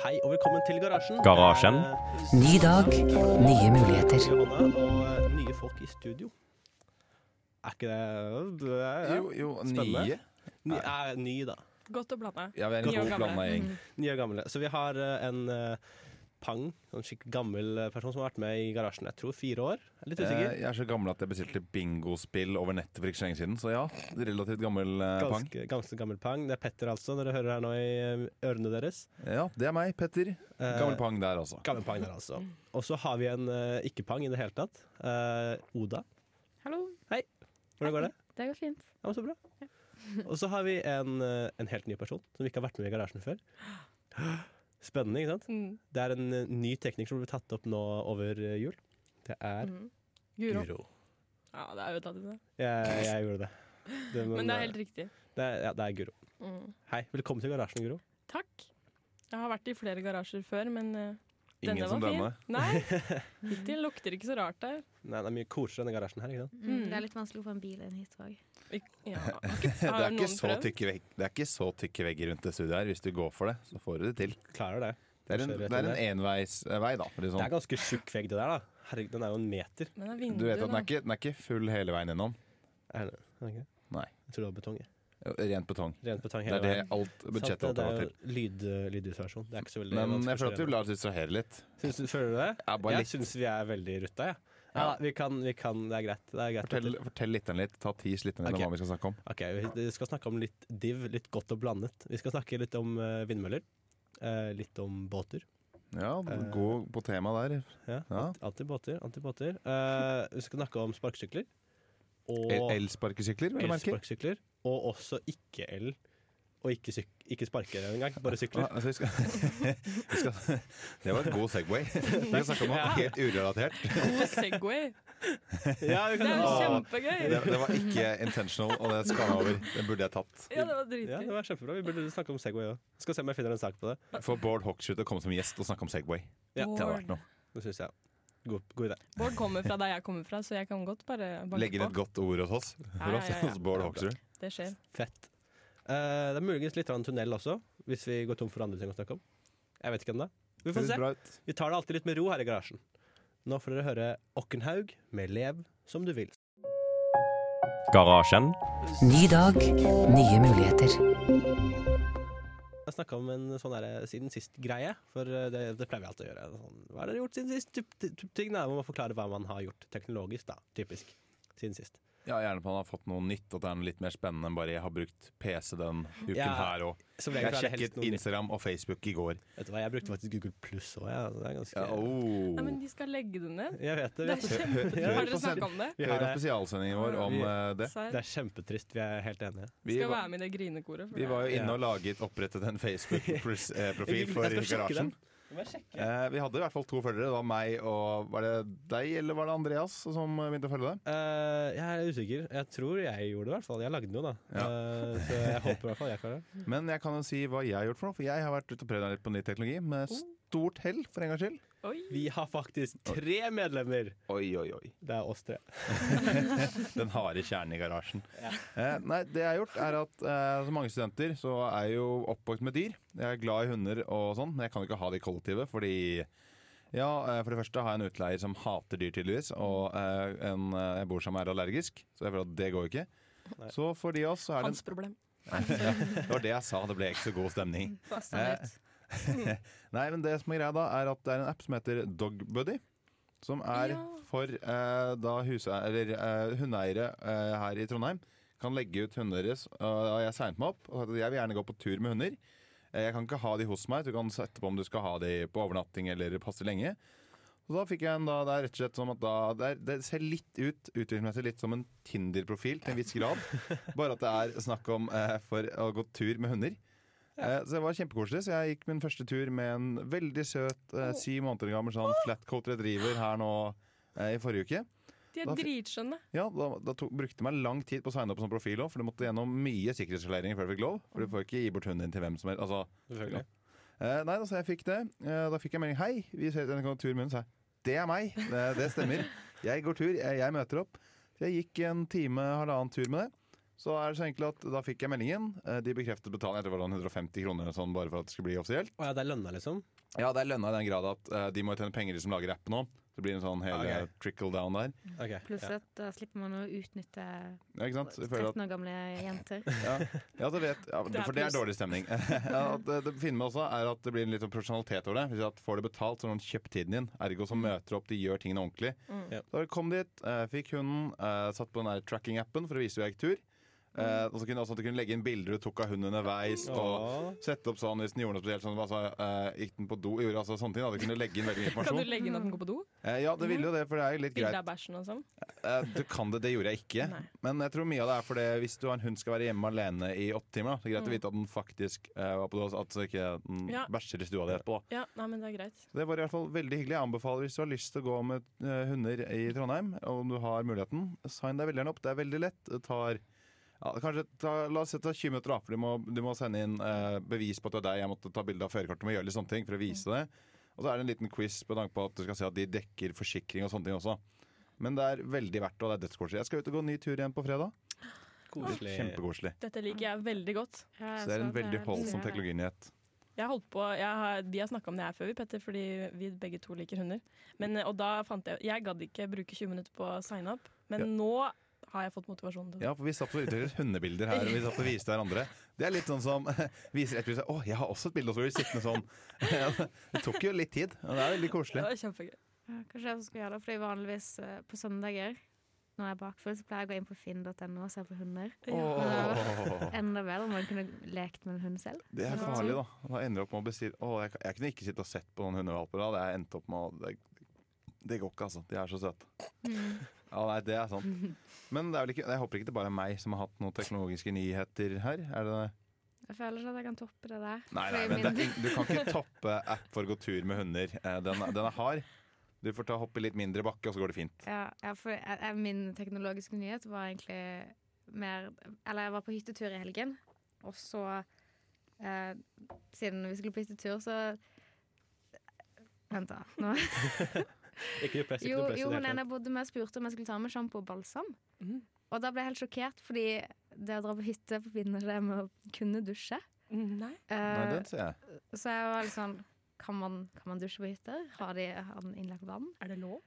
Hei og velkommen til Garasjen. Garasjen. Det er- Ny dag, nye muligheter. Johanna og eh, nye folk i studio. Er ikke det, det er, Jo, jo, Spennende. nye. Ny, er ny, da. Godt å blande. Ja, vi er en Nye og god gamle. blanda gjeng. Nye og gamle. Så vi har eh, en eh, pang, en skikkelig gammel eh, person som har vært med i Garasjen jeg tror fire år. Jeg er Litt Eh, usikker. Jeg er så gammel at jeg bestilte bingospill over nettet for ikke så lenge siden. Så ja, relativt gammel eh, pang. Ganske, ganske gammel pang. Det er Petter, altså, dere hører her nå i eh, ørene deres. Ja, det er meg, Petter. Eh, Gammel pang der, altså. Gammel pang der, altså. Og så har vi en eh, ikke-pang i det hele tatt. Eh, Oda. Hallo. Hvordan går det? Det går fint. Ja, men så bra. Og så har vi en, eh, en helt ny person som ikke har vært med i garasjen før. Spennende, ikke sant? Mm. Det er en eh, ny teknikk som ble tatt opp nå over eh, jul. Det er Mm. Guro. Guro. Ja, det er ødela du det. Jeg, jeg gjorde det. det Men det er eh, helt riktig. det er, ja, det er Guro. Mm. Hei, velkommen til garasjen, Guro. Takk. Jeg har vært i flere garasjer før, men eh, Ingen denne som var fin. denne. Nei, hittil lukter ikke så rart der. Nei, det er mye koseligere denne garasjen her, ikke sant? Mm. Det er litt vanskelig å få en bil inn hit òg. Ik ja, Det har er, ikke noen så prøvd? tykke vegg, det er ikke så tykke vegger rundt det studioet her. Hvis du går for det, så får du det til. Klarer det. Det er en, det er en enveisvei, da. for å si det Det er sånn. ganske tjukk vegg, det der, da. Herregud, den er jo en meter. men det Du er vet vinduer, at den sånn. da. er, ikke, den er ikke full hele veien gjennom. Er det, er det ikke? Nei. Jeg tror det var betong. jeg. Rent betong. Rent betong Det hele er det veien. alt Sant, budsjettet det er er til. jo lyd, lydisolasjon. Det er ikke så veldig Men vanskelig jeg å føler skjønne. at du lar oss distrahere litt. Syns du, føler du det? Ja, bare jeg litt. syns vi er veldig rutta, jeg. Ja. Ja, Ja. vi kan, vi kan, det er greit. Det er greit Fortell, fortell lytteren litt. Ta ti lytterne ned Ok. om hva vi skal snakke om. Ok, Vi skal snakke om litt div, litt godt og blandet. Vi skal snakke litt om eh, vindmøller. eh, litt om båter. Ja, Eh, gå på tema der. Ja. Ja. Alltid båter, alltid båter. Eh, vi skal snakke om sparkesykler. El- Og Elsparkesykler, vil jeg merke. elsparkesykler. Og også ikke-el. Og ikke, syk- ikke sparkere engang, bare sykler. Ah, altså, vi skal, vi skal, det var en god Segway. Vi skal snakke om noe helt urelatert. God Segway. Ja, vi Det er jo Åh. Det, kjempegøy. det var ikke intentional, og det skal jeg over. Den burde jeg tatt. Ja, det var ja, det dritgøy. var kjempebra. Vi burde snakke om Segway òg. Skal se om jeg finner en sak på det. Få Bård Hoksrud til å komme som gjest og snakke om Segway. Ja, Det hadde vært noe. Det syns jeg. God, god idé. Bård kommer fra der jeg kommer fra, så jeg kan godt bare banke Legge inn et på. godt ord hos oss. Ja, ja, Hos ja, ja. hos Bård Hoksrud. Det skjer. Fett. Eh, det er muligens litt av en tunnel også, hvis vi går tom for andre ting å snakke om. Jeg vet ikke ennå. Vi får se. Vi tar det alltid litt med ro her i garasjen. Nå får dere høre Okkenhaug med Lev som du vil. Garasjen. Ny dag, nye muligheter. Jeg har snakka om en sånn der siden sist-greie, for eh, det, det pleier vi alltid å gjøre. Sånn, hva har dere gjort siden sist? Typ, typ, typ ting, da. Hvor man forklarer hva man har gjort teknologisk, da. Typisk. Siden sist. Ja, Gjerne på han har fått noe nytt, at det er noe litt mer spennende enn bare jeg har brukt PC den uken Ja. her òg. Som regel Jeg så er det helst sjekket noe nytt. Instagram og Facebook i går. Vet du hva, jeg brukte faktisk Google Pluss òg, jeg. Det er ganske Ja, oh. Nei, men de skal legge det ned. Jeg vet det. Det vi- er kjempebra. Hør Har på dere snakka om det? vi Hør har på det. spesialsendingen vår om Vi- eh, det. Det Serr? er kjempetrist. Vi er helt enige. Vi Skal var- være med i det grinekoret. for Vi det var jo Ja. inne og laget opprettet en Jeg Facebook-profil skal for sjekke Garasjen. den. Jeg må sjekke. Eh, vi hadde i hvert fall to følgere. Det var meg og Var det deg eller var det Andreas som begynte å følge det? Eh, jeg er usikker. Jeg tror jeg gjorde det, i hvert fall. Jeg lagde noe, da. Eh, Ja. så jeg håper i hvert fall jeg klarer det. Men jeg kan jo si hva jeg har gjort for noe. For jeg har vært ute og prøvd meg litt på ny teknologi med Oh. stort hell, for en gangs skyld. der. Oi. Vi har faktisk tre medlemmer! Oi, oi, oi. Det er oss tre. Den harde kjernen i garasjen. Eh, nei, det jeg har gjort, er at eh, som mange studenter så er jeg jo oppvokst med dyr. Jeg er glad i hunder og sånn, men jeg kan jo ikke ha det i kollektivet fordi ja, eh, For det første har jeg en utleier som hater dyr, tydeligvis. Og eh, en eh, jeg bor sammen med, er allergisk, så jeg føler at det går jo ikke. Nei. Så for de av oss så er det en Hans problem. ja, det var det jeg sa, det ble ikke så god stemning. Sannhet. Nei, men det som er greia da, er at det er en app som heter Dogbuddy. Som er Ja. for eh, da huse, eller, eh, hundeeiere eh, her i Trondheim kan legge ut hundene deres. Og da har jeg signet meg opp og sagt at jeg vil gjerne gå på tur med hunder. Eh, Jeg kan ikke ha de hos meg, så du kan sette på om du skal ha de på overnatting eller passe lenge. Så da fikk jeg en da, Det er rett og slett som at da, det, er, det ser litt ut utviklingsmessig litt som en Tinder-profil til en viss grad. Bare at det er snakk om eh, for å gå tur med hunder. Eh, så det var kjempekoselig. Så jeg gikk min første tur med en veldig søt eh, syv måneder gammel sånn flatcoat retriever her nå eh, i forrige uke. De Da er fi- dritskjønne. Ja, Da, da tok, brukte det meg lang tid på å signe opp som profil òg, for du måtte gjennom mye sikkerhetsskaleringer før du fikk lov. For du får ikke gi bort hunden din til hvem som helst. Altså, Selvfølgelig. Eh, nei, da, så jeg fikk det. Eh, da fikk jeg melding. Hei, vi ser denne tur med hunden. Så jeg, det er meg. Det, det stemmer. Jeg går tur. Jeg, jeg møter opp. Så jeg gikk en time, halvannen tur med det. Så er det så enkelt at da fikk jeg meldingen. Eh, De bekreftet betaling. Jeg tror det var sånn 150 kroner eller sånn, bare for at det skulle bli offisielt. Å ja, det er lønna, liksom? Ja, det er lønna i den grad at eh, de må jo tjene penger, de som lager appen nå. Så det blir en sånn hele Ok. trickle down der. Ok, Pluss ja. at da slipper man å utnytte Ja, ikke sant? Jeg føler at 13 år gamle jenter. Ja, ja, så vet, ja Det er for det er pluss. dårlig stemning. ja, at det, det fine med også er at det blir en litt sånn profesjonalitet over det. Hvis at Får du betalt, så har noen kjøpt tiden din. Ergo så møter du opp, de gjør tingene ordentlig. Mm. Ja. Så jeg kom dit, eh, fikk hunden, eh, satt på den der tracking-appen for å vise hvor jeg gikk tur. Eh, Mm. og så kunne jeg også at du kunne legge inn bilder du tok av hunden underveis. Og Åh. sette opp sånn hvis den gjorde noe spesielt. Sånn, altså, eh, gikk den på do? Gjorde altså sånne ting. Da. Du kunne legge inn veldig mye Kan du informasjon. legge inn at den går på do? Eh, ja, det ville jo det, for det er jo litt greit. Bilde av bæsjen og sånn? Eh, Du kan det, det gjorde jeg ikke. Nei. Men jeg tror mye av det er fordi hvis du har en hund skal være hjemme alene i åtte timer, da, så er det greit å Mm. vite at den faktisk eh, var på do, altså at den ikke den Ja. bæsjer i stua di etterpå. da. Ja, nei, men det er greit. Så Det var i hvert fall veldig hyggelig. Jeg anbefaler hvis du har lyst til å gå med eh, hunder i Trondheim, og om du har muligheten, sign deg veldig gjerne opp. Det er veldig lett. Det tar ja, kanskje ta, La oss si det tar 20 minutter, da. For du må, du må sende inn eh, bevis på at det er deg. Jeg måtte ta bilde av førerkortet og gjøre litt sånne ting for å vise Mm. det. Og så er det en liten quiz på tanke på at du skal se at de dekker forsikring og sånne ting også. Men det er veldig verdt det, og det er dødskoselig. Jeg skal ut og gå en ny tur igjen på fredag. Koselig. Kjempekoselig. Dette liker jeg veldig godt. Ja, Så det så er en veldig det- holdsom det er- teknologinyhet. Jeg har holdt på, jeg har, Vi har snakka om det her før, vi, Petter, fordi vi begge to liker hunder. Men, eh, og da fant Jeg jeg gadd ikke bruke 20 minutter på å sign up, men Ja. nå har jeg fått motivasjonen. til det. Ja, for vi satt og utviklet hundebilder her, og vi satt og viste hverandre. Det er litt sånn som viser et bilde sånn, Å, jeg har også et bilde, og så blir du sittende sånn. Det tok jo litt tid, og det er veldig Det koselig. var kjempegøy. Ja, Kanskje jeg også skal gjøre det, fordi vanligvis eh, på søndager når jeg er bakfull, så pleier jeg å gå inn på finn.no og se på hunder. Åh, Enda bedre om man kunne lekt med en hund selv. det er farlig, da. Da ender du opp med å bestille Å, jeg, jeg kunne ikke sitte og sett på noen hundevalper da. Det jeg endte opp med å det, det går ikke, altså. De er så søte. Ja, nei, det er sant. Men det er vel ikke, jeg håper ikke det bare er meg som har hatt noen teknologiske nyheter her. Er det det? Jeg føler ikke at jeg kan toppe det der. Nei, nei, Fordi men min- det, du kan ikke toppe app for å gå tur med hunder. Eh, Den, er- den er hard. Du får ta hoppe i litt mindre bakke, og så går det fint. Ja, ja, for jeg, jeg, min teknologiske nyhet var egentlig mer Eller jeg var på hyttetur i helgen, og så eh, Siden vi skulle på hyttetur, så Vent, da. Nå. Ikke noe press, ikke Jo, noe press. i jo det hun hele ene tatt. jeg bodde med, spurte om jeg skulle ta med sjampo og balsam. Mhm. Og da ble jeg helt sjokkert, fordi det å dra på hytte forbinder det med å kunne dusje. Nei. Nei, Eh, den ser jeg. så jeg var litt sånn kan man, kan man dusje på hytter? Har de har den innlagt vann? Er det lov?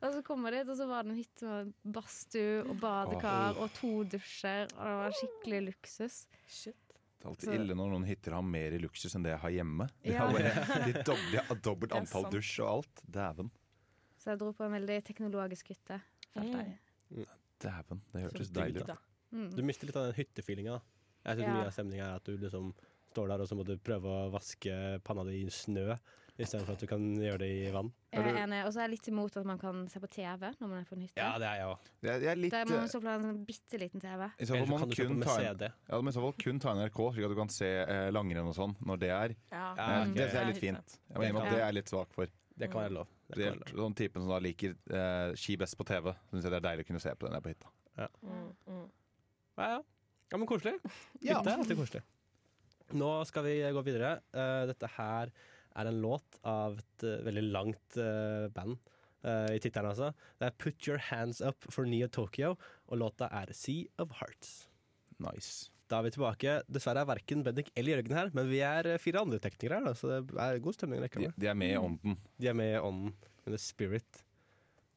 Og så kommer jeg dit, og så var det en hytte med badstue og badekar og to dusjer. Og det var skikkelig luksus. Shit. Det er alltid ille når noen hytter har mer luksus enn det jeg har hjemme. De Ja. har bare- de dob- de har dobbelt Det er antall sant. dusj og alt. Dæven. Så jeg dro på en veldig teknologisk hytte. følte jeg. Dæven. Det hørtes Så deilig digg, ut. da. Mm. Du mister litt av den hyttefeelinga. da. Jeg synes Ja. Mye av stemninga er at du liksom står der og så må du prøve å vaske panna di i snø, istedenfor at du kan gjøre det i vann. Jeg Er du- er enig, Og så er jeg litt imot at man kan se på TV når man er på en hytte. Ja, det er jeg òg. Jeg, jeg er litt Der må man eh, så på en sånn bitte liten TV. i så fall Eller så må man kan du kjøpe kun med ta inn- CD. ja, men i så fall kun ta NRK, slik at du kan se eh, langrenn og sånn når det er. Ja. Ja, Eh, ok. Det er litt Ja, hytte. fint. Jeg må innrømme at det er jeg litt svak for. Det kan være lov. Det kan Det være er lov. sånn typen som da liker eh, ski best på TV. Syns jeg det er deilig å kunne se på den der på hytta. Mm, mm. Ja, ja. ja men koselig. Ja. Hytte er alltid koselig. Nå skal vi gå videre. Eh, dette her er en låt av et eh, veldig langt eh, band. eh, I tittelen, altså. Det er Put Your Hands Up for Neo Tokyo, og låta er Sea of Hearts. Nice. Da er vi tilbake. Dessverre er verken Bendik eller Jørgen her, men vi er eh, fire andre teknikere her, da, så det er god stemning. i rekka De, vår. de er med i ånden. De er med i ånden, in the spirit.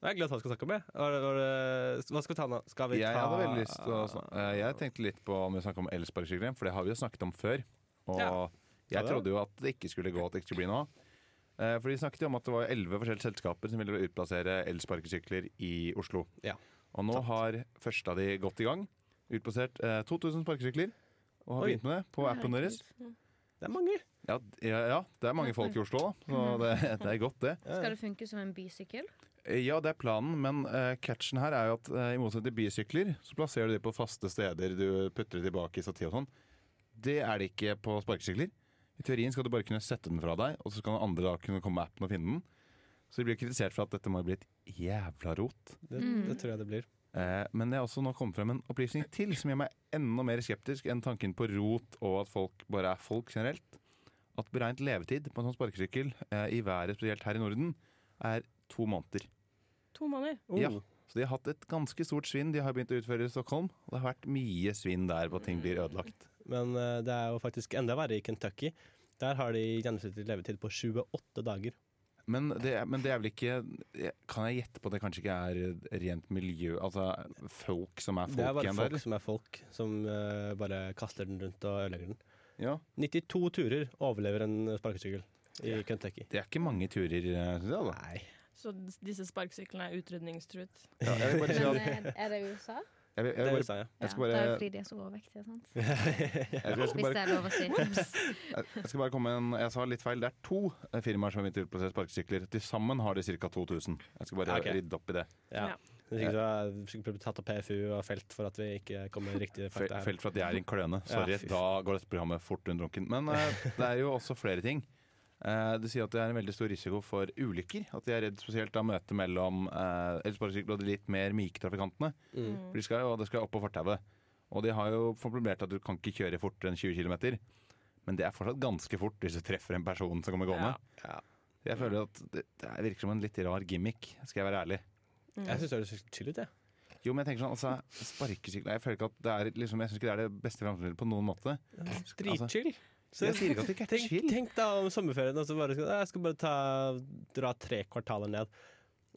Jeg er glad for hva vi skal snakke om. jeg. Var- var det- Hva skal vi ta nå? Skal vi ta Jeg hadde veldig lyst til å snak- eh, Jeg tenkte litt på om vi snakket om elsparkesykler, for det har vi jo snakket om før. Og Ja. jeg trodde jo at det ikke skulle gå, at det ikke skulle bli noe. Eh, For de snakket jo om at det var elleve forskjellige selskaper som ville utplassere elsparkesykler i Oslo. Ja. Og nå Sant. har første av de gått i gang. Utplassert eh, 2000 sparkesykler. Og har Oi. begynt med det på appen deres. Det er mange. Ja, d- ja, ja, det er mange folk i Oslo, da. Så det, det er godt, det. Ja, ja. Skal det funke som en bysykkel? Ja, det er planen, men eh, catchen her er jo at eh, i motsetning til bysykler, så plasserer du de på faste steder. Du putter det tilbake i stativ og sånn. Det er det ikke på sparkesykler. I teorien skal du bare kunne sette den fra deg, og så kan andre da kunne komme med appen og finne den. Så de blir kritisert for at dette må ha blitt jævla rot. Det, Mm. det tror jeg det blir. Eh, men det er også nå kommet frem en opplysning til som gjør meg enda mer skeptisk enn tanken på rot og at folk bare er folk generelt. At beregnet levetid på en sånn sparkesykkel eh, i været, spesielt her i Norden, er to måneder. To måneder. Oh. Ja. Så de har hatt et ganske stort svinn. De har begynt å utføre i Stockholm. Og det har vært mye svinn der på at ting blir ødelagt. Men eh, det er jo faktisk enda verre i Kentucky. Der har de gjennomsnittlig levetid på 28 dager. Men det, er- men det er vel ikke Kan jeg gjette på at det kanskje ikke er rent miljø Altså folk som er folk det er bare igjen folk der? som er folk, som eh, bare kaster den rundt og ødelegger den. Ja. 92 turer overlever en sparkesykkel i Kentucky. Det er ikke mange turer, syns jeg. da Nei. Så d- disse sparkesyklene er utrydningstruet. ja, Jeg vil bare si Men at eh, er det USA? jeg vil, jeg Det vil bare, sa jeg. Jeg skal Ja, Det er bare- jo fordi de er så overvektige, sant? jeg, jeg, skal Hvis bare, det er lov å si. jeg skal bare komme med en Jeg sa litt feil. Det er to eh, firmaer som har begynt å utplassere sparkesykler. Til sammen har de ca. 2000. Jeg skal bare Ja, ok. rydde opp i det. Ja. Ja. Hvis ikke så er vi sikkert blitt tatt av PFU og felt for at vi ikke kom med riktige Fe- fakta her. Felt for at jeg er i en kløne. Sorry. Ja, fy da går dette programmet fort rundt drunken. Men eh, det er jo også flere ting. Eh, du sier at det er en veldig stor risiko for ulykker. At de er redd spesielt av møtet mellom uh, elsparkesykler og de litt mer myke trafikantene. Mm. For de skal jo, det skal jo opp på fortauet. Og de har jo formulert at du kan ikke kjøre fortere enn 20 km. Men det er fortsatt ganske fort hvis du treffer en person som kommer gående. Ja. Ja. Jeg føler at det, det virker som en litt rar gimmick, skal jeg være ærlig. Mm. Jeg syns det høres chill ut, jeg. Jo, men jeg tenker sånn, altså, sparkesykler Jeg føler ikke at det er liksom, jeg synes ikke det er det beste fremskrittet på noen måte. Dritchill. Så Altså, Jeg sier ikke at det ikke er tenk, chill. tenk da om sommerferien, og så bare skal, jeg skal bare ta, dra tre kvartaler ned.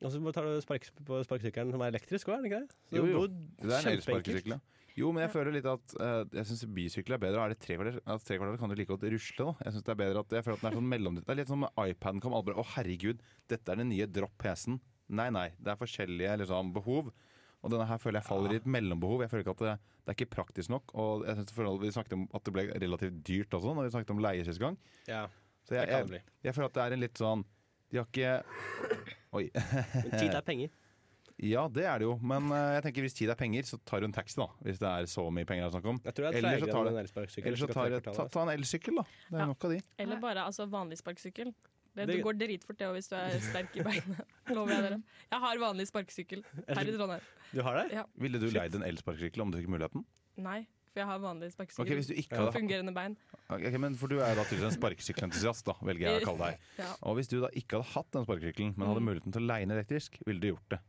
Og så bare tar du spark, på sparkesykkelen som er elektrisk òg, er den ikke det? Så Jo, det jo. blir Det er en kjempeenkelt. elsparkesykkel. ja. Jo, men jeg føler litt at eh, Jeg syns bysykler er bedre. Er det tre kvarter, at tre kvarter kan du like godt rusle, da. Jeg synes det er bedre at jeg føler at den er sånn mellom Det er litt som med iPaden kom, alle bare Å, herregud, dette er den nye dropp-PC-en. Nei, nei. Det er forskjellige liksom, behov. Og denne her føler jeg faller i et mellombehov. Jeg føler ikke at det, det er ikke praktisk nok. Og jeg synes for all- Vi snakket om at det ble relativt dyrt også, når vi snakket om leie sist gang. Ja, Så det kan jeg, det jeg, bli. jeg føler at det er en litt sånn De har ikke Oi. Men tid er penger. Ja, det er det jo. Men eh, jeg tenker hvis tid er penger, så tar du en taxi, da. Hvis det er så mye penger det er snakk om. Jeg tror det er Eller tregere så tar enn det- en elsparkesykkel. Eller så som skal tar, tre ta, kvartaler. ta en elsykkel, da. Det er Ja. nok av de. Eller bare altså, vanlig sparkesykkel. Det, Det- det går dritfort det òg, hvis du er sterk i beina. Lover jeg dere. Jeg har vanlig sparkesykkel her i Trondheim. Du har det? Ville du leid en elsparkesykkel om du fikk muligheten? Nei, for jeg har vanlig Ok, sparkesykkel. hvis du ikke Og hadde Fungerende bein. Ok, men For du er da tydeligvis en sparkesykkelentusiast, da, velger jeg å kalle deg. Ja. Og hvis du da ikke hadde hatt den sparkesykkelen, men hadde Mm. muligheten til å leie den elektrisk, ville du gjort det.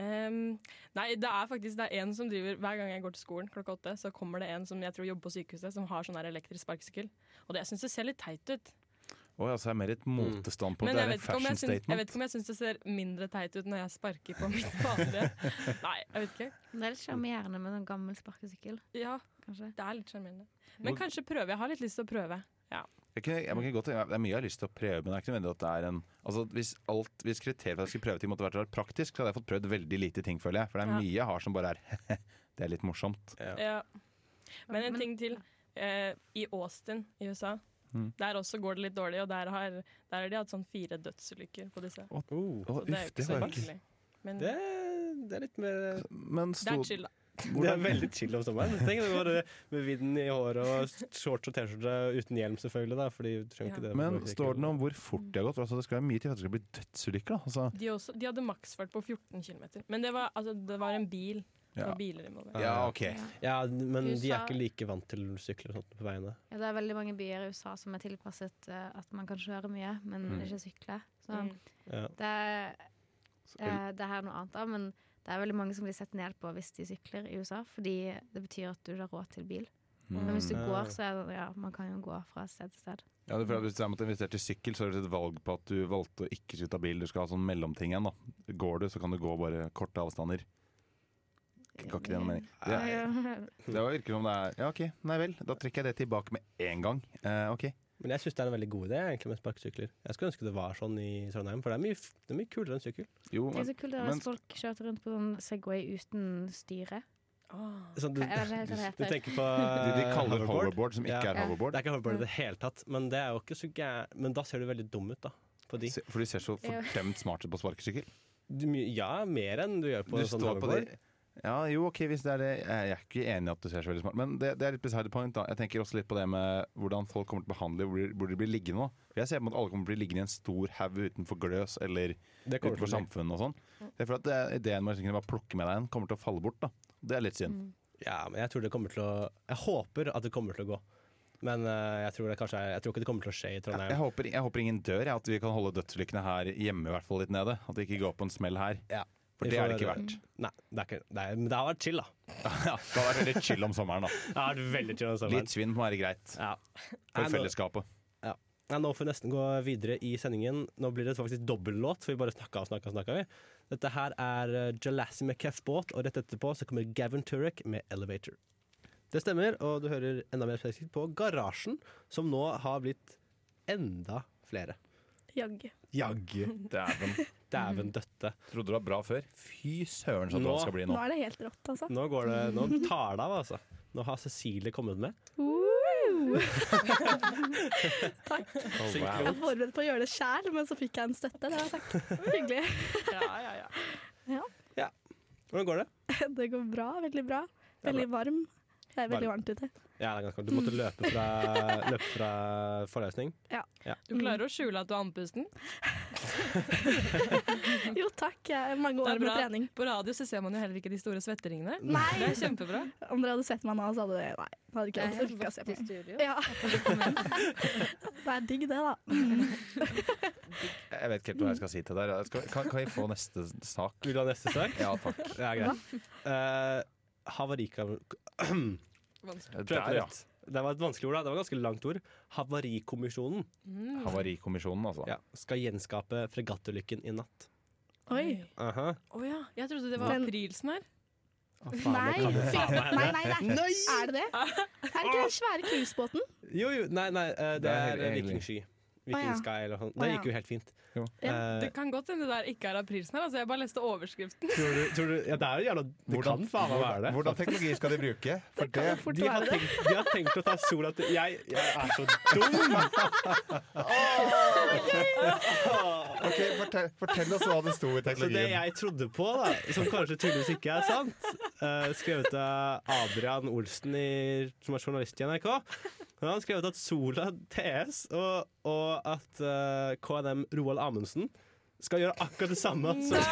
Ehm, nei, det er faktisk det er en som driver Hver gang jeg går til skolen klokka åtte, så kommer det en som jeg tror jobber på sykehuset, som har sånn her elektrisk sparkesykkel. Og det, jeg syns det ser litt teit ut. Å ja, så er det mer et motestandpunkt. Mm. Men Det jeg er vet, en ikke om fashion jeg syns, jeg statement. vet ikke om jeg syns det ser mindre teit ut når jeg sparker på mitt vanlige. Nei, jeg vet ikke. Men Det er litt sjarmerende med en sånn gammel sparkesykkel, Ja, kanskje. det er litt sjarmerende. Men kanskje prøve. Jeg har litt lyst til å prøve. Jeg kunne, jeg, man kan godt, tenke meg- det er mye jeg har lyst til å prøve, men det er ikke nødvendig at det er en altså, Hvis, alt- hvis kriteriet for at jeg skulle prøve ting måtte vært å være praktisk, så hadde jeg fått prøvd veldig lite ting, føler jeg. For det er Ja. mye jeg har som bare er Det er litt morsomt. Ja. Men en Men- ting til. Eh, I Austin i USA, Mm. der også går det litt dårlig, og der har, der har de hatt sånn fire dødsulykker på disse. Oh. Å, Så det er uff, jo ikke det så var jo ikke hyggelig. Men Det, det det er litt mer Men sto, er chill, da. Det er hvordan- veldig chill om sommeren. Tenk det bare Med vidden i håret og s- shorts og T-skjorte uten hjelm, selvfølgelig. Da, fordi du trenger ikke Ja. det Men står det noe om hvor fort de har gått? Altså, det skal være mye til for at det skal bli dødsulykker. da. Altså, De, også, de hadde maksfart på 14 km. Men det var, altså, det var en bil. Det ja. var biler involvert. ja, OK. Ja, Men de er USA- ikke like vant til sykler og sånt på veiene. Ja, det er veldig mange byer i USA som er tilpasset eh, at man kan kjøre mye, men Mm. ikke sykle. Så Mm. Ja. det, er, Så el- eh, det her er noe annet, da, men det er veldig mange som blir sett ned på hvis de sykler i USA, fordi det betyr at du ikke har råd til bil. Mm. Men hvis du Ah. går, så er det ja, man kan jo gå fra sted til sted. Ja, det er for at Hvis du måtte investert i sykkel, så er det et valg på at du valgte å ikke slutte av bil. Du skal ha sånn mellomting igjen. da. Går du, så kan du gå bare korte avstander. Ga ikke det noen mening? Det er- Det var- virker som det er Ja, OK. Nei vel. Da trekker jeg det tilbake med en gang. Eh, OK. Men jeg syns det er en veldig god idé egentlig med sparkesykler. Jeg skulle ønske det var sånn i Trondheim, for det er mye, f- det er mye kulere enn sykkel. Jo, Tenk men så kult det er men- hvis folk kjørte rundt på sånn Segway uten styre. Åh. Sånn, du, Jeg vet ikke helt hva du det heter. tenker på de, de kaller det hoverboard. Eh, hoverboard, som ikke Ja. er Ja. Det hoverboard. er ikke hoverboard Mm. i det hele tatt, men det er jo ikke så gæ... Men da ser du veldig dum ut, da. På de. Se- For de ser så Ja. fordømt smarte på sparkesykkel. Du, my- ja, mer enn du gjør på Du sånn står på hoverboard. det- Ja, jo, ok, hvis det er det. Jeg er ikke enig i at du ser så veldig smart Men det, det er litt beside the point. da Jeg tenker også litt på det med hvordan folk kommer til å behandle hvor de, hvor de blir liggende. da. For Jeg ser på en måte at alle kommer til å bli liggende i en stor haug utenfor gløs eller Det kommer til å utenfor bli- samfunnet og sånn. Det er for at det, er ideen med å kunne bare plukke med deg en kommer til å falle bort. da Det er litt Mm. synd. Ja, men jeg tror det kommer til å Jeg håper at det kommer til å gå. Men eh, jeg, tror det kanskje er, jeg tror ikke det kommer til å skje i Jeg, Trondheim. jeg, håper, jeg håper ingen dør, jeg, at vi kan holde dødsulykkene her hjemme i hvert fall litt nede. At det ikke går på en smell her. Ja. For Vi det får er det ikke være- verdt. Nei, det er ikke det. Er, men det har vært chill, da. Ja, det hadde vært veldig chill om sommeren. da Det har vært veldig chill den sommeren. Litt svinn må være greit Ja. Nei, nå, for fellesskapet. nei, nå får vi nesten gå videre i sendingen. Nå blir det faktisk dobbellåt, for vi bare snakka og snakka. og snakka vi. Dette her er eh, Jalassi med Keff Båt, og rett etterpå så kommer Gavin Turek med Elevator. Det stemmer, og du hører enda mer spesifikt på Garasjen, som nå har blitt enda flere. Jaggu. Jaggu. Dæven. Dæven døtte. Trodde det var bra før. Fy søren, så Nå- bra det skal bli Nå nå. er det helt rått, altså. Nå går det, nå tar det av, altså. Nå har Cecilie kommet med. Woo! Takk. Oh, Sykt Jeg bra. wow. var forberedt på å gjøre det sjæl, men så fikk jeg en støtte. Det var takk. Hyggelig. Ja, ja, ja. Hvordan går det? Det går bra. Veldig bra. Det er Veldig varm. Jeg er Varm. veldig varmt ute. Ja, det er ganske Du måtte løpe fra, løpe fra forløsning. Du klarer å skjule at du er andpusten. Jo takk, jeg er mange Det er år med bra. trening. På radio så ser man jo heller ikke de store svetteringene. Nei. Det er kjempebra. Om dere hadde sett meg nå, så hadde det Nei, det hadde ikke jeg orka å se på. meg. studio. Ja. Det er digg, det, da. Jeg vet ikke helt hva jeg skal si til deg. Jeg skal- Kan, kan jeg få neste sak? Vil du ha neste sak? Ja, takk. Det er greit. Uh, Havarika... Prøv på Der, ja. nytt. Det var et vanskelig ord, da. Det var et ganske langt ord. Havarikommisjonen Havarikommisjonen, altså. ja, skal gjenskape fregattulykken i natt. Oi. Aha. Å ja. Jeg trodde det var Men- aprilsnarr. Å, faen, Nei, det kan det fy- faen meg nei, hende. nei, nei. Er det det? Er det ikke den svære cruisebåten? Jo, jo, nei, nei, eh, det Det er er helt- vikingsky. ja. Vikingsky eller noe sånt. Det Å, ja. gikk jo helt fint. Jo. Eh, Det kan godt hende det der ikke er aprilsnarr. Altså, jeg bare leste overskriften. tror du, tror du, ja, det er jo jævla Det Hvordan- kan faen meg være det. Hvordan teknologi skal de bruke? For Kan det det fort De har, være det? tenkt, de har tenkt å ta sola til Jeg, jeg er så dum! Ok, fortell, fortell oss hva det sto i Så det teknologien. jeg trodde på, da, som kanskje tydeligvis ikke er sant, eh, skrevet av Adrian Olsen, i, som er journalist i NRK Han har skrevet at Sola TS og, og at eh, KNM Roald Amundsen skal gjøre akkurat det samme. Som,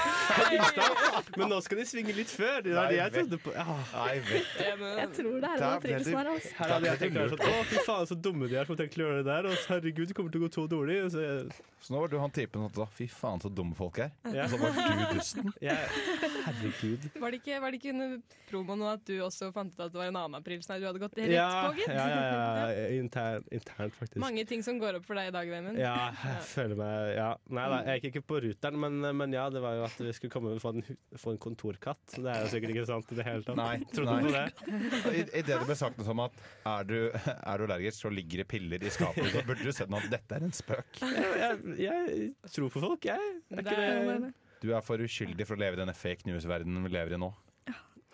men nå skal de svinge litt før. Det Nei, var det jeg vet- trodde på. Ja. Nei, vet Jeg tror det er Der en ble de- aprilsnarr. Altså. Her hadde jeg tenkt å være sånn Å, fy faen, så dumme de er som har tenkt å gjøre det der. Og herregud, det kommer til å gå to dårlig. Så jeg, Så nå var du han typen som sa fy faen så dumme folk er. Ja. Og så var du dusten. jeg, herregud. Var det ikke, var det ikke under promoen nå at du også fant ut at det var en annen aprilsnarr? Du hadde gått rett Ja, på, ja, gitt. ja, ja. Intern, internt, faktisk. Mange ting som går opp for deg i dag, Vemund. Ja, jeg føler meg ja. Nei da, jeg gikk ikke på ruteren, men, men ja, det var jo at vi skulle komme og få en, hu- få en kontorkatt. Så det er jo sikkert ikke sant i det hele tatt. Nei, Trodde nei. du på det? I, I det det ble sagt noe som at er du, er du allergisk, så ligger det piller i skapet. Så burde du sett noe at dette er en spøk. Jeg, jeg, jeg tror på folk, jeg. Er Det ikke er- det Du er for uskyldig for å leve i denne fake news-verdenen vi lever i nå.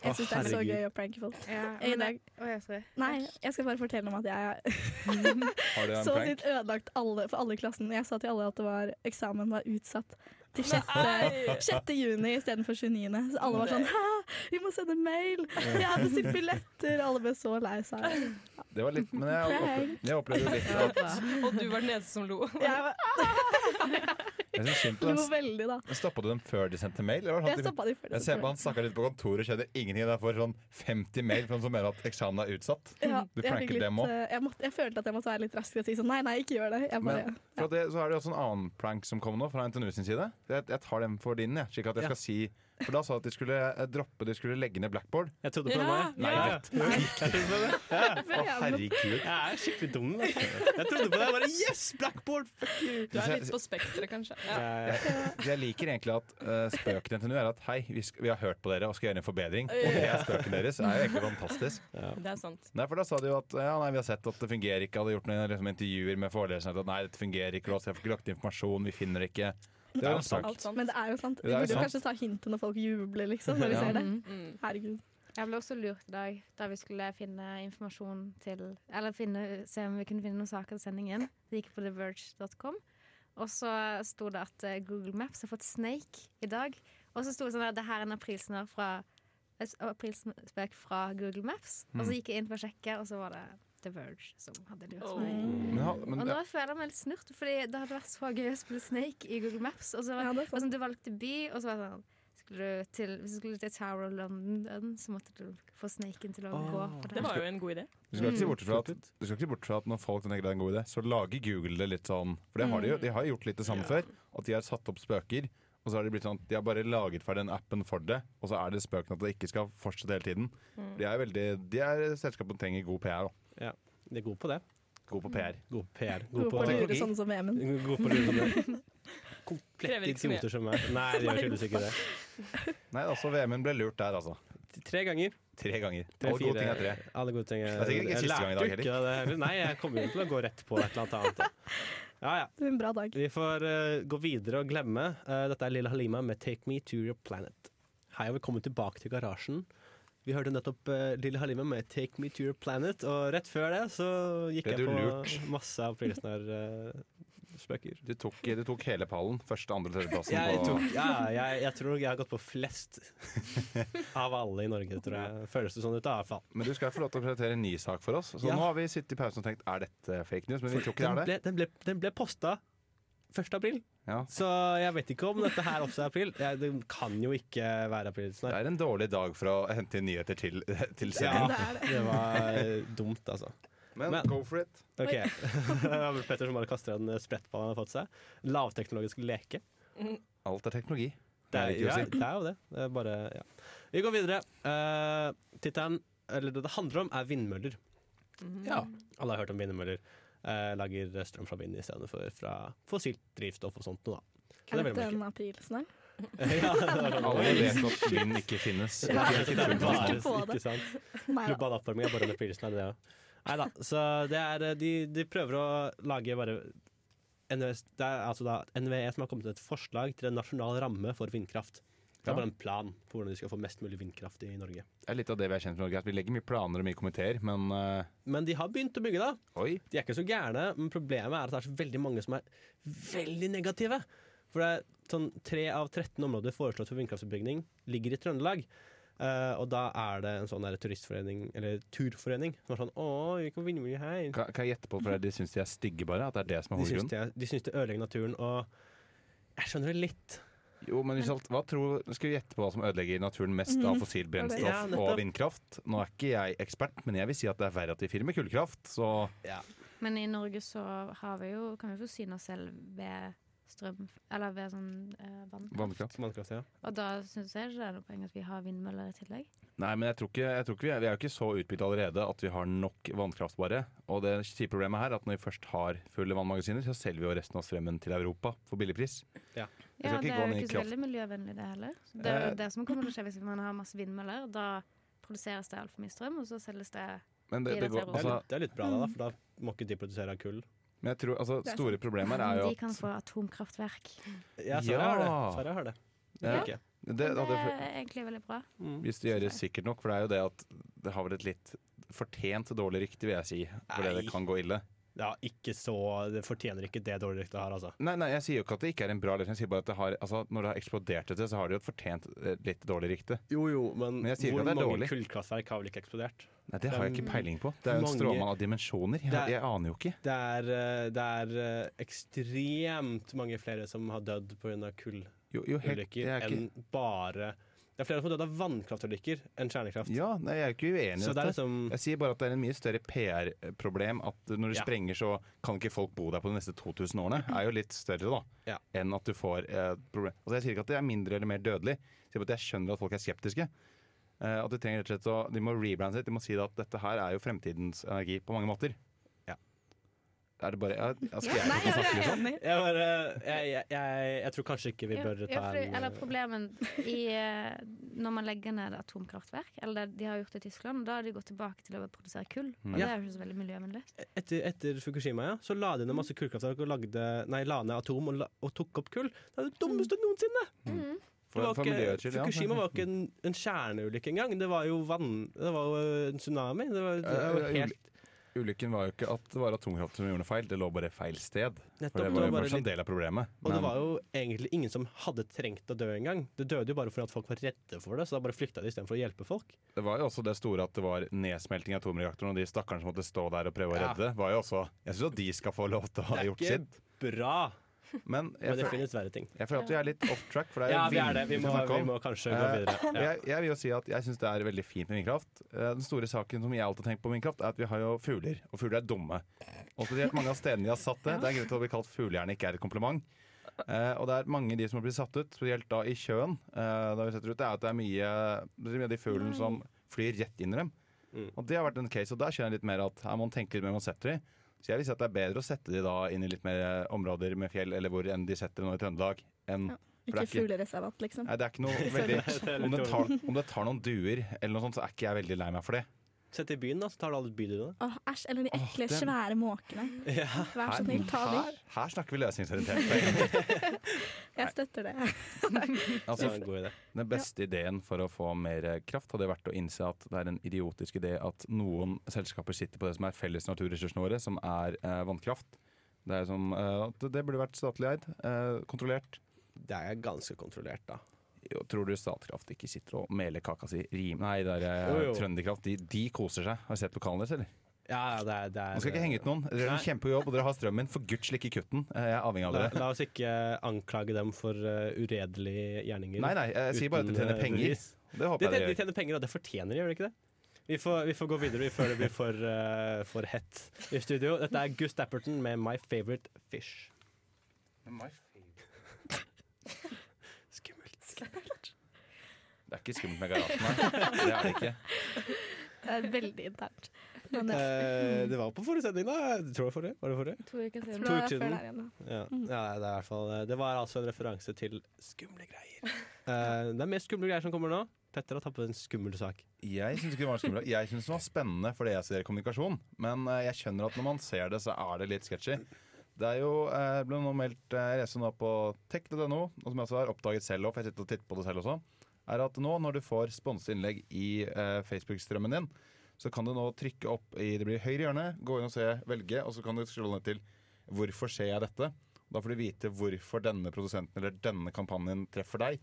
Jeg syns det er så herregud. gøy å pranke folk. Ja, I men dag. det- Å, ja, sorry. Nei, jeg skal bare fortelle om at jeg Har du en så prank? sitt ødelagt alle, for alle i klassen. Jeg sa til alle at det var, eksamen var utsatt til 6. Nei! 6. juni istedenfor 29. Så alle var sånn hæ, vi må sende mail! Jeg har bestilt billetter! Alle ble så lei seg. Det var litt, men jeg, Prank. opp- jeg opplevde jo litt at Og du var den eneste som lo. Jeg var- Jeg syns synd på lo dem. veldig, da. Stoppa du dem før de sendte mail? Eller var Jeg det sånn at de- stoppa de før. de jeg ser på han sendte snakker litt på kontoret, skjønner ingenting. og Jeg får sånn 50 mail fra noen som mener at eksamen er utsatt. mail. Ja, Du jeg pranker fikk litt, dem også. eh, Jeg, måtte- jeg følte at jeg måtte være litt rask til å si sånn nei, nei, ikke gjør det. Jeg bare, Men fra det, så er det også en annen prank som kom nå, fra NTNU sin side. Jeg, jeg tar den for din, jeg. Slik at jeg Ja. skal si For da sa de at de skulle eh, droppe De skulle legge ned blackboard. Jeg trodde på det, Ja, meg. Nei, ja. ja. Jeg trodde på det. Ja. Å, herregud. Jeg er skikkelig dum. da. Jeg trodde på det. Jeg bare Yes, blackboard! Fuck you! Du er litt på spekteret, kanskje. Ja. Jeg, Så jeg liker egentlig at eh, spøken til NTNU er at hei, vi, sk vi har hørt på dere og skal gjøre en forbedring. Og det er spøken deres. Det er jo egentlig fantastisk. Det er sant. Nei, for da sa de jo at ja, nei, vi har sett at det fungerer ikke. Hadde gjort noen liksom, intervjuer med foreleserne at nei, dette fungerer ikke. Lås, jeg får ikke lagt informasjon. Vi finner det ikke. Det er jo en sak. Alt sant. Men det er jo sant. Vi Det er jo burde jo sant. kanskje ta hintet når folk jubler, liksom, når vi Ja. ser det. Mm. Herregud. Jeg ble også lurt i dag da vi skulle finne informasjon til Eller finne, se om vi kunne finne noen saker til sendingen. Det gikk på theverge.com. Og så sto det at eh, Google Maps har fått Snake i dag. Og så sto det sånn at det her er en aprilsnarr fra en s- aprilspøk fra Google Maps. Og så gikk jeg inn for å sjekke, og så var det The Verge som hadde lurt meg. Men, ha- men, Og da føler jeg meg litt snurt, Fordi det hadde vært så gøy å spille Snake i Google Maps. Og så var Ja, det er og sant. sånn, du valgte by, og så var det sånn skulle du til, Hvis du skulle til Tower of London, så måtte du få sneiken til å Åh. gå på Det det. var jo en god idé. Du skal, ikke se bort fra at, du skal ikke se bort fra at når folk tenker det er en Mm. god idé, så lager Google det litt sånn For det har de jo. De har jo gjort litt det samme før. At de har satt opp spøker, Og så har de blitt sånn at de har bare laget ferdig den appen for det, og så er det spøken at det ikke skal fortsette hele tiden. Mm. De er veldig, de er selskapet som trenger god PR. Da. De er gode på det. Mm. God på PR. God på PR. God på å lure teknologi. sånn som Emen. God på å lure sånne Krever komplette ikke så mye. idioter som meg. Nei, de gjør tydeligvis ikke det. Nei, altså VM-en ble lurt der, altså. Tre ganger. Tre ganger. Tre, Alle gode fire- ting er tre. Alle gode ting er Det er sikkert ikke Jeg siste lærte gang i dag jo ikke det heller. Nei, jeg kommer jo til å gå rett på et eller annet annet. Ja, ja. Det blir en bra dag. Vi får eh, gå videre og glemme. Eh, dette er Lilla Halima med 'Take Me To Your Planet'. Hei og velkommen tilbake til garasjen. Vi hørte nettopp uh, Lille Halima med 'Take Me To Your Planet', og rett før det så gikk Ble jeg du på lurt? masse av eh, Frilesnar-spøker. Du tok, du tok hele pallen. Første, andre, tredjeplassen. Jeg, på- tok, ja, jeg, jeg tror jeg har gått på flest av alle i Norge, tror jeg. Føles det sånn ut, da, i hvert fall. Men du skal få lov til å presentere en ny sak for oss. Så Ja. nå har vi sittet i pausen og tenkt er dette fake news, men vi tror ikke Den det er det. ble, den ble, den ble posta 1. april, Ja. så jeg vet ikke om dette her også er april. Jeg, det kan jo ikke være april. Sånn. Det er en dårlig dag for å hente inn nyheter til, til Ja, sending. det, var eh, dumt, altså. Men Men- go for it. Ok, Petter som bare kaster en sprettball han har fått seg. Lavteknologisk leke. Alt er teknologi. Det er, ikke ja, å si. det er jo det. det er bare, ja. Vi går videre. Eh, Tittelen, eller det det handler om, er vindmøller. Ja, alle har hørt om vindmøller. Eh, lager strøm fra vind istedenfor fra fossilt drivstoff og sånt noe, da. Så Er det er dette veldig en aprilsnarr? merkelig. ja, det var sånn. Alle vet at vind ikke finnes. Det er ikke Det er fullt av bare- det. Ikke på det. Ikke sant? Nei da. Global oppvarming er bare under pilsen av det, ja. Neida, så det er, eh, de, de prøver å lage bare NVE, det er altså da NVE som har kommet med et forslag til en nasjonal ramme for vindkraft. Det Ja. er bare en plan for hvordan de skal få mest mulig vindkraft i Norge. Det er litt av det vi er kjent med i Norge. At vi legger mye planer og mye komiteer, men eh, Men de har begynt å bygge, da. oi. De er ikke så gærne, men problemet er at det er så veldig mange som er veldig negative. For det er sånn 3 av 13 områder foreslått for vindkraftutbygging ligger i Trøndelag. Eh, og da er det en sånn der turistforening, eller turforening, som er sånn Å, vi kan vindmøller her. Kan, kan jeg gjette på fordi de syns de er stygge, bare? At det er det som er De syns, hovedgrunnen? det, de syns det ødelegger naturen, og jeg skjønner det litt. Jo, men hvis alt, hva tror, Skal vi gjette på hva som ødelegger naturen mest av fossil brennstoff Ja, nettopp. og vindkraft? Nå er ikke jeg ekspert, men jeg vil si at det er verre at de fyrer med kullkraft. Så Men i Norge så har vi jo, kan vi forsyne oss selv ved strøm Eller ved sånn eh, vann. vannkraft. Vannkraft, ja. Og da syns jeg ikke det er noe poeng at vi har vindmøller i tillegg. Nei, men jeg tror ikke, jeg tror ikke vi, er, vi er jo ikke så utbygd allerede at vi har nok vannkraft bare. Og det kjipe problemet her er at når vi først har fulle vannmagasiner, så selger vi jo resten av strømmen til Europa for billig pris. Jeg skal Ja, ikke Det gå er jo ned i ikke så kraft. veldig miljøvennlig, det heller. Så Det er Eh. jo det som kommer til å skje hvis man har masse vindmøller. Da produseres det altfor mye strøm, og så selges det Men det, Blir det det går, Det til er, altså, litt, det er litt bra, da, da, for da må ikke de produsere av kull. men jeg tror, altså, Det er store problemer er jo De kan at få atomkraftverk. Ja, Sverige Ja. har det. Sverige har det. Det er Ja. ikke. Mm. det, Men og det det, er egentlig veldig bra. Hvis det gjøres sikkert nok, for det er jo det at det har vel et litt fortjent dårlig rykte, vil jeg si. Fordi Nei. det kan gå ille. Ja, ikke så Det fortjener ikke det dårlige ryktet her, altså. Nei, nei, jeg sier jo ikke at det ikke er en bra løsning. Jeg sier bare at det har, altså, når det har eksplodert etter, så har det jo et fortjent eh, litt dårlig rykte. Jo jo, men, Men jeg sier ikke hvor at det er mange dårlig. kullkraftverk har vel ikke eksplodert? Nei, det har jeg ikke peiling på. Det er jo en Mange- stråmann av dimensjoner. Jeg, Det er- jeg aner jo ikke. Det er, eh, det er eh, ekstremt mange flere som har dødd pga. kullulykker Jo, jo, helt, jeg er ikke enn bare Det er flere som har dødd av vannkraftulykker enn kjernekraft. Ja, nei, jeg er ikke uenig i så det er dette. liksom Jeg sier bare at det er en mye større PR-problem at når du Ja. sprenger, så kan ikke folk bo der på de neste 2000 årene. Det er jo litt større, da, Ja. enn at du får eh, problem. Altså, jeg sier ikke at det er mindre eller mer dødelig. Jeg sier bare at jeg skjønner at folk er skeptiske. Eh, at de trenger rett og slett å De må rebrande sitt. De må si at dette her er jo fremtidens energi på mange måter. Ja. Er det bare ja, Skal jeg Nei, ikke få jeg snakke er liksom? enig. Jeg, bare, jeg, jeg, jeg, jeg tror kanskje ikke vi Ja, bør ja, ta fordi- en eh, Eller problemen i eh, Når man legger ned atomkraftverk, eller det de har gjort det i Tyskland, da har de gått tilbake til å produsere kull. Og det Mm. Ja. er jo ikke så veldig miljøvennlig. etter, etter Fukushima ja, så la de ned masse kullkraftverk og lagde, nei, la ned atom og, la, og tok opp kull. Det er det dummeste noensinne! Det For, var for ikke, miljøets skyld, ja. Fukushima var ikke en, en kjerneulykke engang. Det var jo vann Det var jo eh, en tsunami. Det var, det var Eh, helt Ulykken var jo ikke at det var atomkraft som gjorde feil, det lå bare feil sted. Nettopp. For det det var var jo bare fortsatt en litt, del av problemet. og det Men- var jo egentlig ingen som hadde trengt å dø engang. Det døde jo bare fordi at folk var redde for det, så da bare flykta de istedenfor å hjelpe folk. Det var jo også det store at det var nedsmelting av atomreaktoren, og de stakkarene som måtte stå der og prøve å Ja. redde, var jo også Jeg syns at de skal få lov til å Det ha er gjort ikke sitt. bra, Men jeg, men det føl- finnes verre ting. jeg føler at vi er litt off track, for det er Ja, jo vi er det. Vi vind må, snakke vi om. må kanskje gå Eh, videre. Ja. Jeg, jeg vil jo si at jeg syns det er veldig fint med vindkraft. Eh, Den store saken som jeg alltid har tenkt på med vindkraft, er at vi har jo fugler, og fugler er dumme. Og spesielt mange av stedene de har satt det. Det er en grunn til at det blir kalt fuglehjerne ikke er et kompliment. Eh, og det er mange av de som har blitt satt ut, spesielt da i sjøen. Eh, da vi setter ut, det er at det er mye, det er mye av de fuglene som flyr rett inn i dem. Mm. Og det har vært en case, og der skjønner jeg litt mer at her må man tenke litt mer når man setter de. Så jeg vil si at det er bedre å sette de da inn i litt mer eh, områder med fjell eller hvor enn de setter nå i Trøndelag. Enn, Ja. For det Ikke er ikke- fuglereservat, liksom. nei, det er ikke noe veldig om det, tar, om det tar noen duer eller noe sånt, så er ikke jeg veldig lei meg for det. Sett i byen, da, så tar du alle bydelene. Åh, Æsj, eller de Åh, ekle, den- svære måkene. Ja. Vær så snill, ta her, de. her snakker vi løsningsorientert. Jeg støtter det. Det Altså, var en god idé. Den beste ideen for å få mer eh, kraft hadde vært å innse at det er en idiotisk idé at noen selskaper sitter på det som er felles naturressursene våre, som er eh, vannkraft. Det, er som, eh, at det burde vært statlig eid, eh, kontrollert. Det er ganske kontrollert, da. Jo, tror du Statkraft ikke sitter og meler kaka si rim... Nei, det er eh, Jo, jo. Trønderkraft. De, de koser seg. Har du sett lokalen deres, eller? Ja, det er, det er Man skal ikke henge ut noen. Dere Nei. er en kjempejobb, og dere har strømmen. For guds slik ikke kutten. Eh, Jeg er avhengig av La, dere. la oss ikke anklage dem for eh, uredelige gjerninger. Nei, nei, jeg sier bare at de Uten, tjener eh, penger. bevis. Det De, tjener- håper jeg de dere gjør. tjener penger, og det fortjener de, gjør de ikke det? Vi får, vi får gå videre før det blir for, eh, for hett i studio. Dette er Gus Dapperton med 'My Favorite Fish'. Skummelt. Det er ikke skummelt med garasjen her. Det er det ikke. Det er veldig internt. Men det Eh, det var på forrige sending, da. Tror jeg forrige. Var det forrige? To uker jeg siden. tror det var uker før siden. der igjen. da. Mm. Ja, ja det, er i hvert fall, det var altså en referanse til skumle greier. Eh, det er mer skumle greier som kommer nå. Petter har tatt på en skummel sak. Jeg syns ikke det var skummelt. Jeg synes det var spennende fordi jeg studerer kommunikasjon. Men eh, jeg skjønner at når man ser det, så er det litt sketchy. Det er jo, eh, ble nå meldt eh, Jeg leser nå på tech.no, og som jeg også har oppdaget selv også, for jeg sitter og titter på det selv også, er at nå når du får sponset innlegg i eh, Facebook-strømmen din, så kan du nå trykke opp i det blir høyre hjørne, gå inn og se, velge, og så kan du scrolle ned til 'Hvorfor ser jeg dette?' Da får du vite hvorfor denne produsenten eller denne kampanjen treffer deg.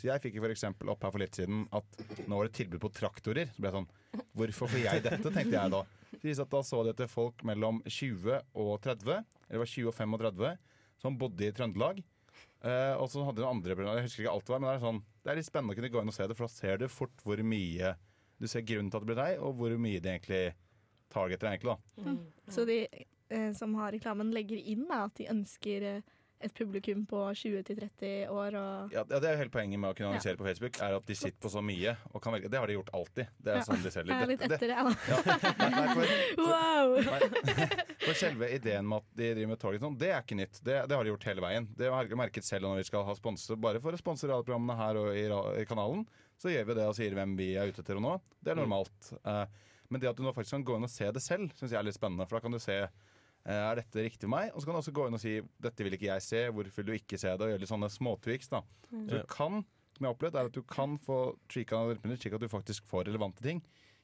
Så jeg fikk jo for eksempel opp her for litt siden at nå var det tilbud på traktorer. Så ble jeg sånn Hvorfor får jeg dette, tenkte jeg da. Så viste det seg at da så de etter folk mellom 20 og 30, eller det var 20 og 35, som bodde i Trøndelag. Eh, og så hadde de andre Jeg husker ikke alt det var, men det er, sånn, det er litt spennende å kunne gå inn og se det, for da ser du fort hvor mye Du ser grunnen til at det blir deg, og hvor mye de egentlig targeter deg, egentlig. da Så de eh, som har reklamen, legger inn da, at de ønsker eh, et publikum på 20-30 år og Ja, ja, det er jo hele poenget med å kunne annonsere på Facebook, er at de sitter på så mye og kan velge. Det har de gjort alltid. Det er Ja. sånn de Jeg selger. er litt Dette- etter det, jeg, da. Ja. Nei, nei, for, Wow! nei. For selve ideen med at de driver med target, sånn, det er ikke nytt. Det, det har de gjort hele veien. Det har jeg merket selv når vi skal ha sponse. Bare for å sponse radioprogrammene her og i, ra- i kanalen, så gjør vi det og sier hvem vi er ute etter og nå. Det er normalt. Eh, men det at du nå faktisk kan gå inn og se det selv, syns jeg er litt spennende. For da kan du se eh, er dette riktig for meg? Og så kan du også gå inn og si dette vil ikke jeg se, hvorfor vil du ikke se det? Og gjøre litt sånne småtviks. da. Så Ja. du kan, som jeg har opplevd, er at du kan få trika hjelpemidler slik at du faktisk får relevante ting.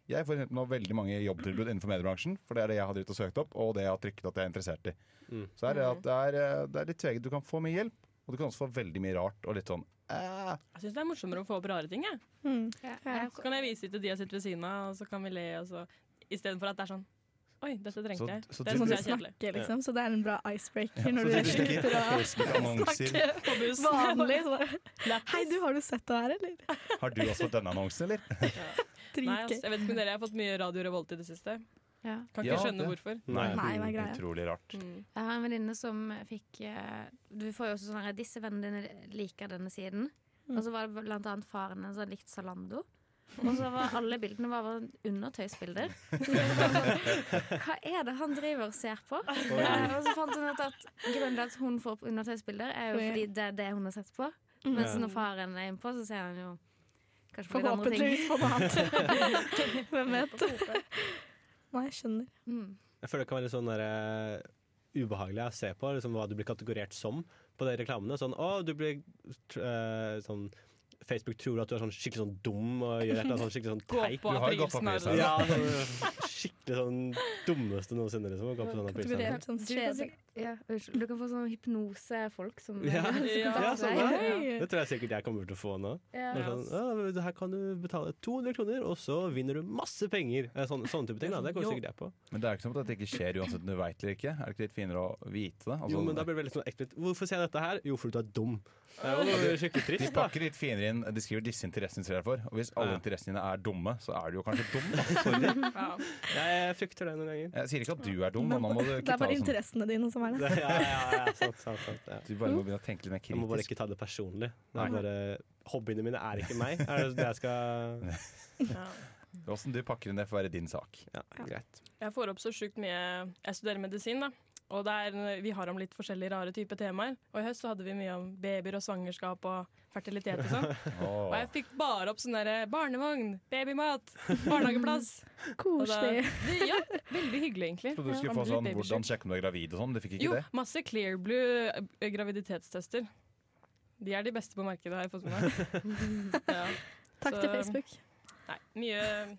Jeg får for eksempel nå veldig mange jobbtilbud innenfor mediebransjen, for det er det jeg har drivet og søkt opp, og det jeg har trykket at jeg er interessert i. Mm. Så er det at det er, eh, det er litt tveget. Du kan få mye hjelp, og du kan også få veldig mye rart og litt sånn eh, Jeg syns det er morsommere å få opp rare ting. Jeg. Mm. Ja, Ja. Så kan jeg vise det til de jeg sitter ved siden av, og så kan vi le. og så- Istedenfor at det er sånn Oi, dette trengte Så- jeg. så Det er sånn Du jeg er kjedelig. snakker, liksom, så det er en bra icebreaker når så du sitter Altså, du slutter å Facebook-annonser. På bussen. Vanlig. Så bare, Hei, du, har du sett det her, eller? Har du også fått denne annonsen, eller? Nei, ass, Dritgøy. jeg vet ikke om dere har fått mye Radio Revolt i det siste. Ja. Kan ikke Ja, skjønne det. hvorfor. Nei. Nei, hva er greia? Utrolig rart. Mm. Jeg har en venninne som fikk eh, Du får jo også sånn her Disse vennene dine liker denne siden. Mm. Og så var det blant annet faren hennes som likte Zalando. Og så var alle bildene bare undertøysbilder. Hva er det han driver og ser på? Eh, og så fant hun ut at grunnen til at hun får opp undertøysbilder, er jo Ja. fordi det er det hun har sett på. Mens når faren er innpå, så ser han jo kanskje på litt andre ting. Forhåpentligvis på noe annet. Hvem vet? Nei, jeg skjønner. Mm. Jeg føler det kan være litt sånn der, eh, ubehagelig å se på liksom, hva du blir kategorert som på de reklamene. Sånn, å, du blir tr- eh, sånn Facebook tror at du er sånn skikkelig sånn dum og gjør et eller annet sånn skikkelig sånn Gå teit. på Du har jo gått på aprilsnarr. aprilsnarr. Ja, sånn, skikkelig sånn dummeste noensinne, liksom. Å gå på sånne aprilstemmer. Kategorert som Du sånn- kan, kjedelig. sikkert- ja, unnskyld. du kan få sånn hypnosefolk som Ja. som kontakter Ja, sånn, deg. Hei. Det tror jeg sikkert jeg kommer til å få nå. Ja. Det er Sånn, «Å, det her kan du betale 200 kroner, og så vinner du masse penger. Eh, Sånne, sånne type ting. Da. Det går sikkert jeg på. Men det er jo ikke sånn at dette ikke skjer uansett om du veit eller ikke. Er det ikke litt finere å vite det? Altså, Jo, men da blir det veldig sånn eksplisitt. Hvorfor ser jeg dette her? Jo, fordi du er dum. Det er jo skikkelig de trist, da. pakker litt finere inn. De skriver disse interessene dine for. Og hvis alle Ja. interessene dine er dumme, så er du jo kanskje dum. Da. sånn. Ja. Jeg frykter det noen ganger. Jeg sier ikke at du er dum, men nå må du Det ikke ta er bare det sånn. interessene dine som som er det. Det, ja, ja, ja, sant, sant, sant, ja. Du bare må begynne å tenke litt mer Jeg må bare kritisk. ikke ta det personlig. Det Nei. er bare, hobbyene mine er ikke meg. Er det det jeg skal Ja. Åssen du pakker inn det får være din sak. Ja, greit. Jeg får opp så sjukt mye Jeg studerer medisin, da. Og det er, vi har om litt forskjellige rare typer temaer. Og i høst så hadde vi mye om babyer og svangerskap og fertilitet og sånn. Og jeg fikk bare opp sånn derre barnevogn, babymat, barnehageplass. Og da, Koselig. det, ja, veldig hyggelig, egentlig. Trodde du skulle Ja, få man blir sånn 'hvordan litt babysjuk. sjekke om du er gravid' og sånn. Du fikk ikke Jo, det? masse clear blue eh, graviditetstester. De er de beste på markedet, har jeg fått med meg. Ja. Takk Så- til Facebook. Nei, mye,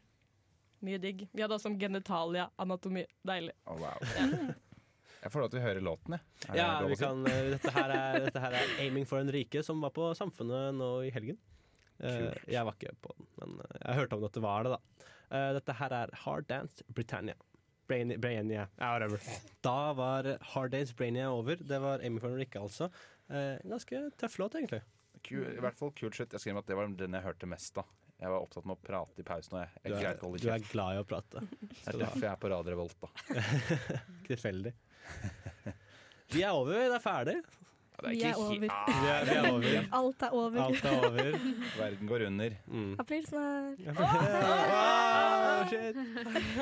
mye digg. Vi hadde også om genitalia, anatomi. Deilig. Å, wow. Jeg får lov til å høre låten, jeg. Er det Ja, lov å vi si? kan, eh, dette, her er, dette her er 'Aiming for en rike', som var på Samfunnet nå i helgen. Eh, Kult. jeg var ikke på den, men eh, jeg hørte om at det var det, da. Eh, dette her er Hard Dance Britannia. Brain- Brainia. Ja, whatever. Da var Hard Dance Brainia over. Det var 'Aiming for en rike', altså. Eh, ganske tøff låt, egentlig. Kul, I hvert fall kult slutt. Jeg skrev at det var den jeg hørte mest av. Jeg var opptatt med å prate i pausen. Og jeg, Du jeg er, greier ikke å holde du er kjeft. glad i å prate. Det er derfor jeg er på Radio Revolt, da. Ikke tilfeldig. Vi er over, det er ferdig. Ja, det Vi er over. Ja, Vi er, vi er over. Alt er over. Alt er over. Ah, verden går under. Mm. April snart. Ah, shit.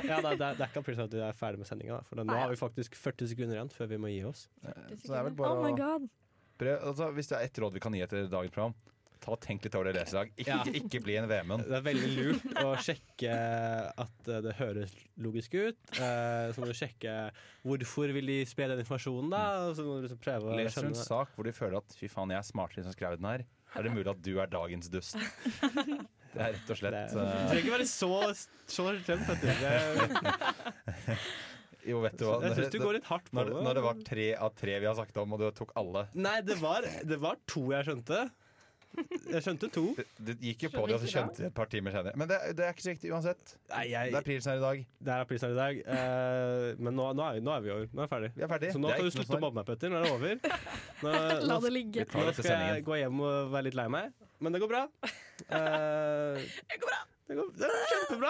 Ja, nei, det, er, det er ikke april snart vi er ferdig med sendinga. For nå har vi faktisk 40 sekunder igjen før vi må gi oss. Eh, Så det er vel bare Oh my å god. prøve altså, Hvis det er ett råd vi kan gi etter dagens program, ta og tenk litt over det leser i dag. Ikke, Ja. ikke, bli en VM-en. Det er veldig lurt å sjekke at eh, det høres logisk ut. Eh, så må du sjekke hvorfor vil de spre den informasjonen, da. Og så må du liksom prøve å Les en skjønne det. sak hvor du føler at 'fy faen, jeg er smartere enn som skrev den her', er det mulig at du er dagens dust. Det er rett og Det slett det eh, trenger ikke være så, så slemt. vet du. Det- Jo, vet du hva. Jeg syns du går litt hardt på når, det. når det var tre av tre vi har sagt om, og du tok alle Nei, det var, det var to jeg skjønte. Jeg skjønte to. Det, det gikk jo på det, og så Skjønner skjønte jeg et par timer senere. Men det, det er ikke så riktig uansett. Nei, jeg, Det er prilsen her i dag. det er april snart i dag. Eh, men nå, nå, er vi, nå er vi over. Nå er vi ferdig. Vi er ferdig. Så nå Det er kan du ikke noe slutte å svar. mobbe meg, Petter. Nå er det over. Nå, La nå, det ligge. Ta nå dette skal jeg sendingen. gå hjem og være litt lei meg. Men det går bra. Eh, det går bra. Det går kjempebra.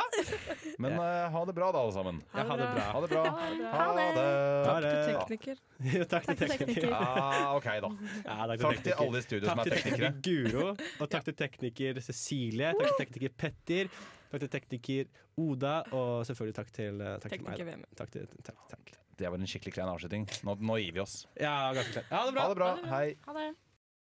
Men eh, ha det bra, da, alle sammen. Ja, ha det bra. Ha det bra. bra. Ha det. Ha Takk eh, til det. tekniker. Jo, takk til Takk til tekniker. tekniker. Ah, OK, da. Ja, takk til Takk til tekniker. alle i studio som Takk er til teknikere. tekniker Guro, og takk til tekniker Cecilie, takk til tekniker Petter, takk til tekniker Oda, og selvfølgelig takk til, eh, takk til meg. Tekniker da. VM. Takk til, takk, takk. Det var en skikkelig klein avslutning. Nå, nå gir vi oss. Ja, ganske klart. Ha det bra. Ha det bra. Hei. Ha det.